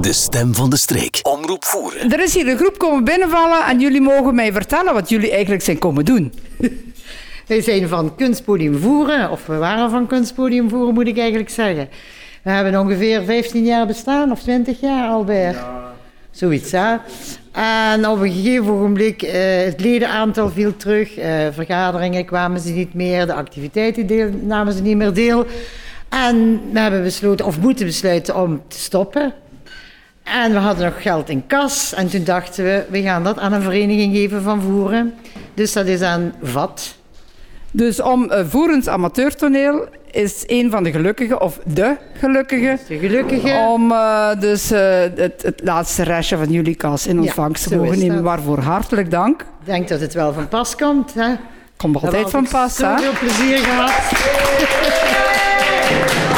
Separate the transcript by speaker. Speaker 1: De stem van de streek. Omroep voeren.
Speaker 2: Er is hier een groep komen binnenvallen en jullie mogen mij vertellen wat jullie eigenlijk zijn komen doen.
Speaker 3: Wij zijn van kunstpodium voeren, of we waren van kunstpodium voeren, moet ik eigenlijk zeggen. We hebben ongeveer 15 jaar bestaan, of 20 jaar alweer. Zoiets, hè. En op een gegeven ogenblik, eh, het ledenaantal viel terug. eh, vergaderingen kwamen ze niet meer, de activiteiten deel, namen ze niet meer deel. En we hebben besloten, of moeten besluiten, om te stoppen. En we hadden nog geld in kas. En toen dachten we, we gaan dat aan een vereniging geven van voeren. Dus dat is aan VAT.
Speaker 2: Dus om eh, Voerens Amateurtoneel is een van de gelukkigen, of de gelukkige,
Speaker 3: De gelukkige.
Speaker 2: om eh, dus eh, het, het laatste restje van jullie kas in ontvangst te
Speaker 3: zo
Speaker 2: mogen
Speaker 3: is
Speaker 2: nemen.
Speaker 3: dat.
Speaker 2: Waarvoor hartelijk dank.
Speaker 3: Ik denk dat het wel van pas komt. Hè?
Speaker 2: Komt altijd van pas, hè?
Speaker 3: Heel veel plezier gehad.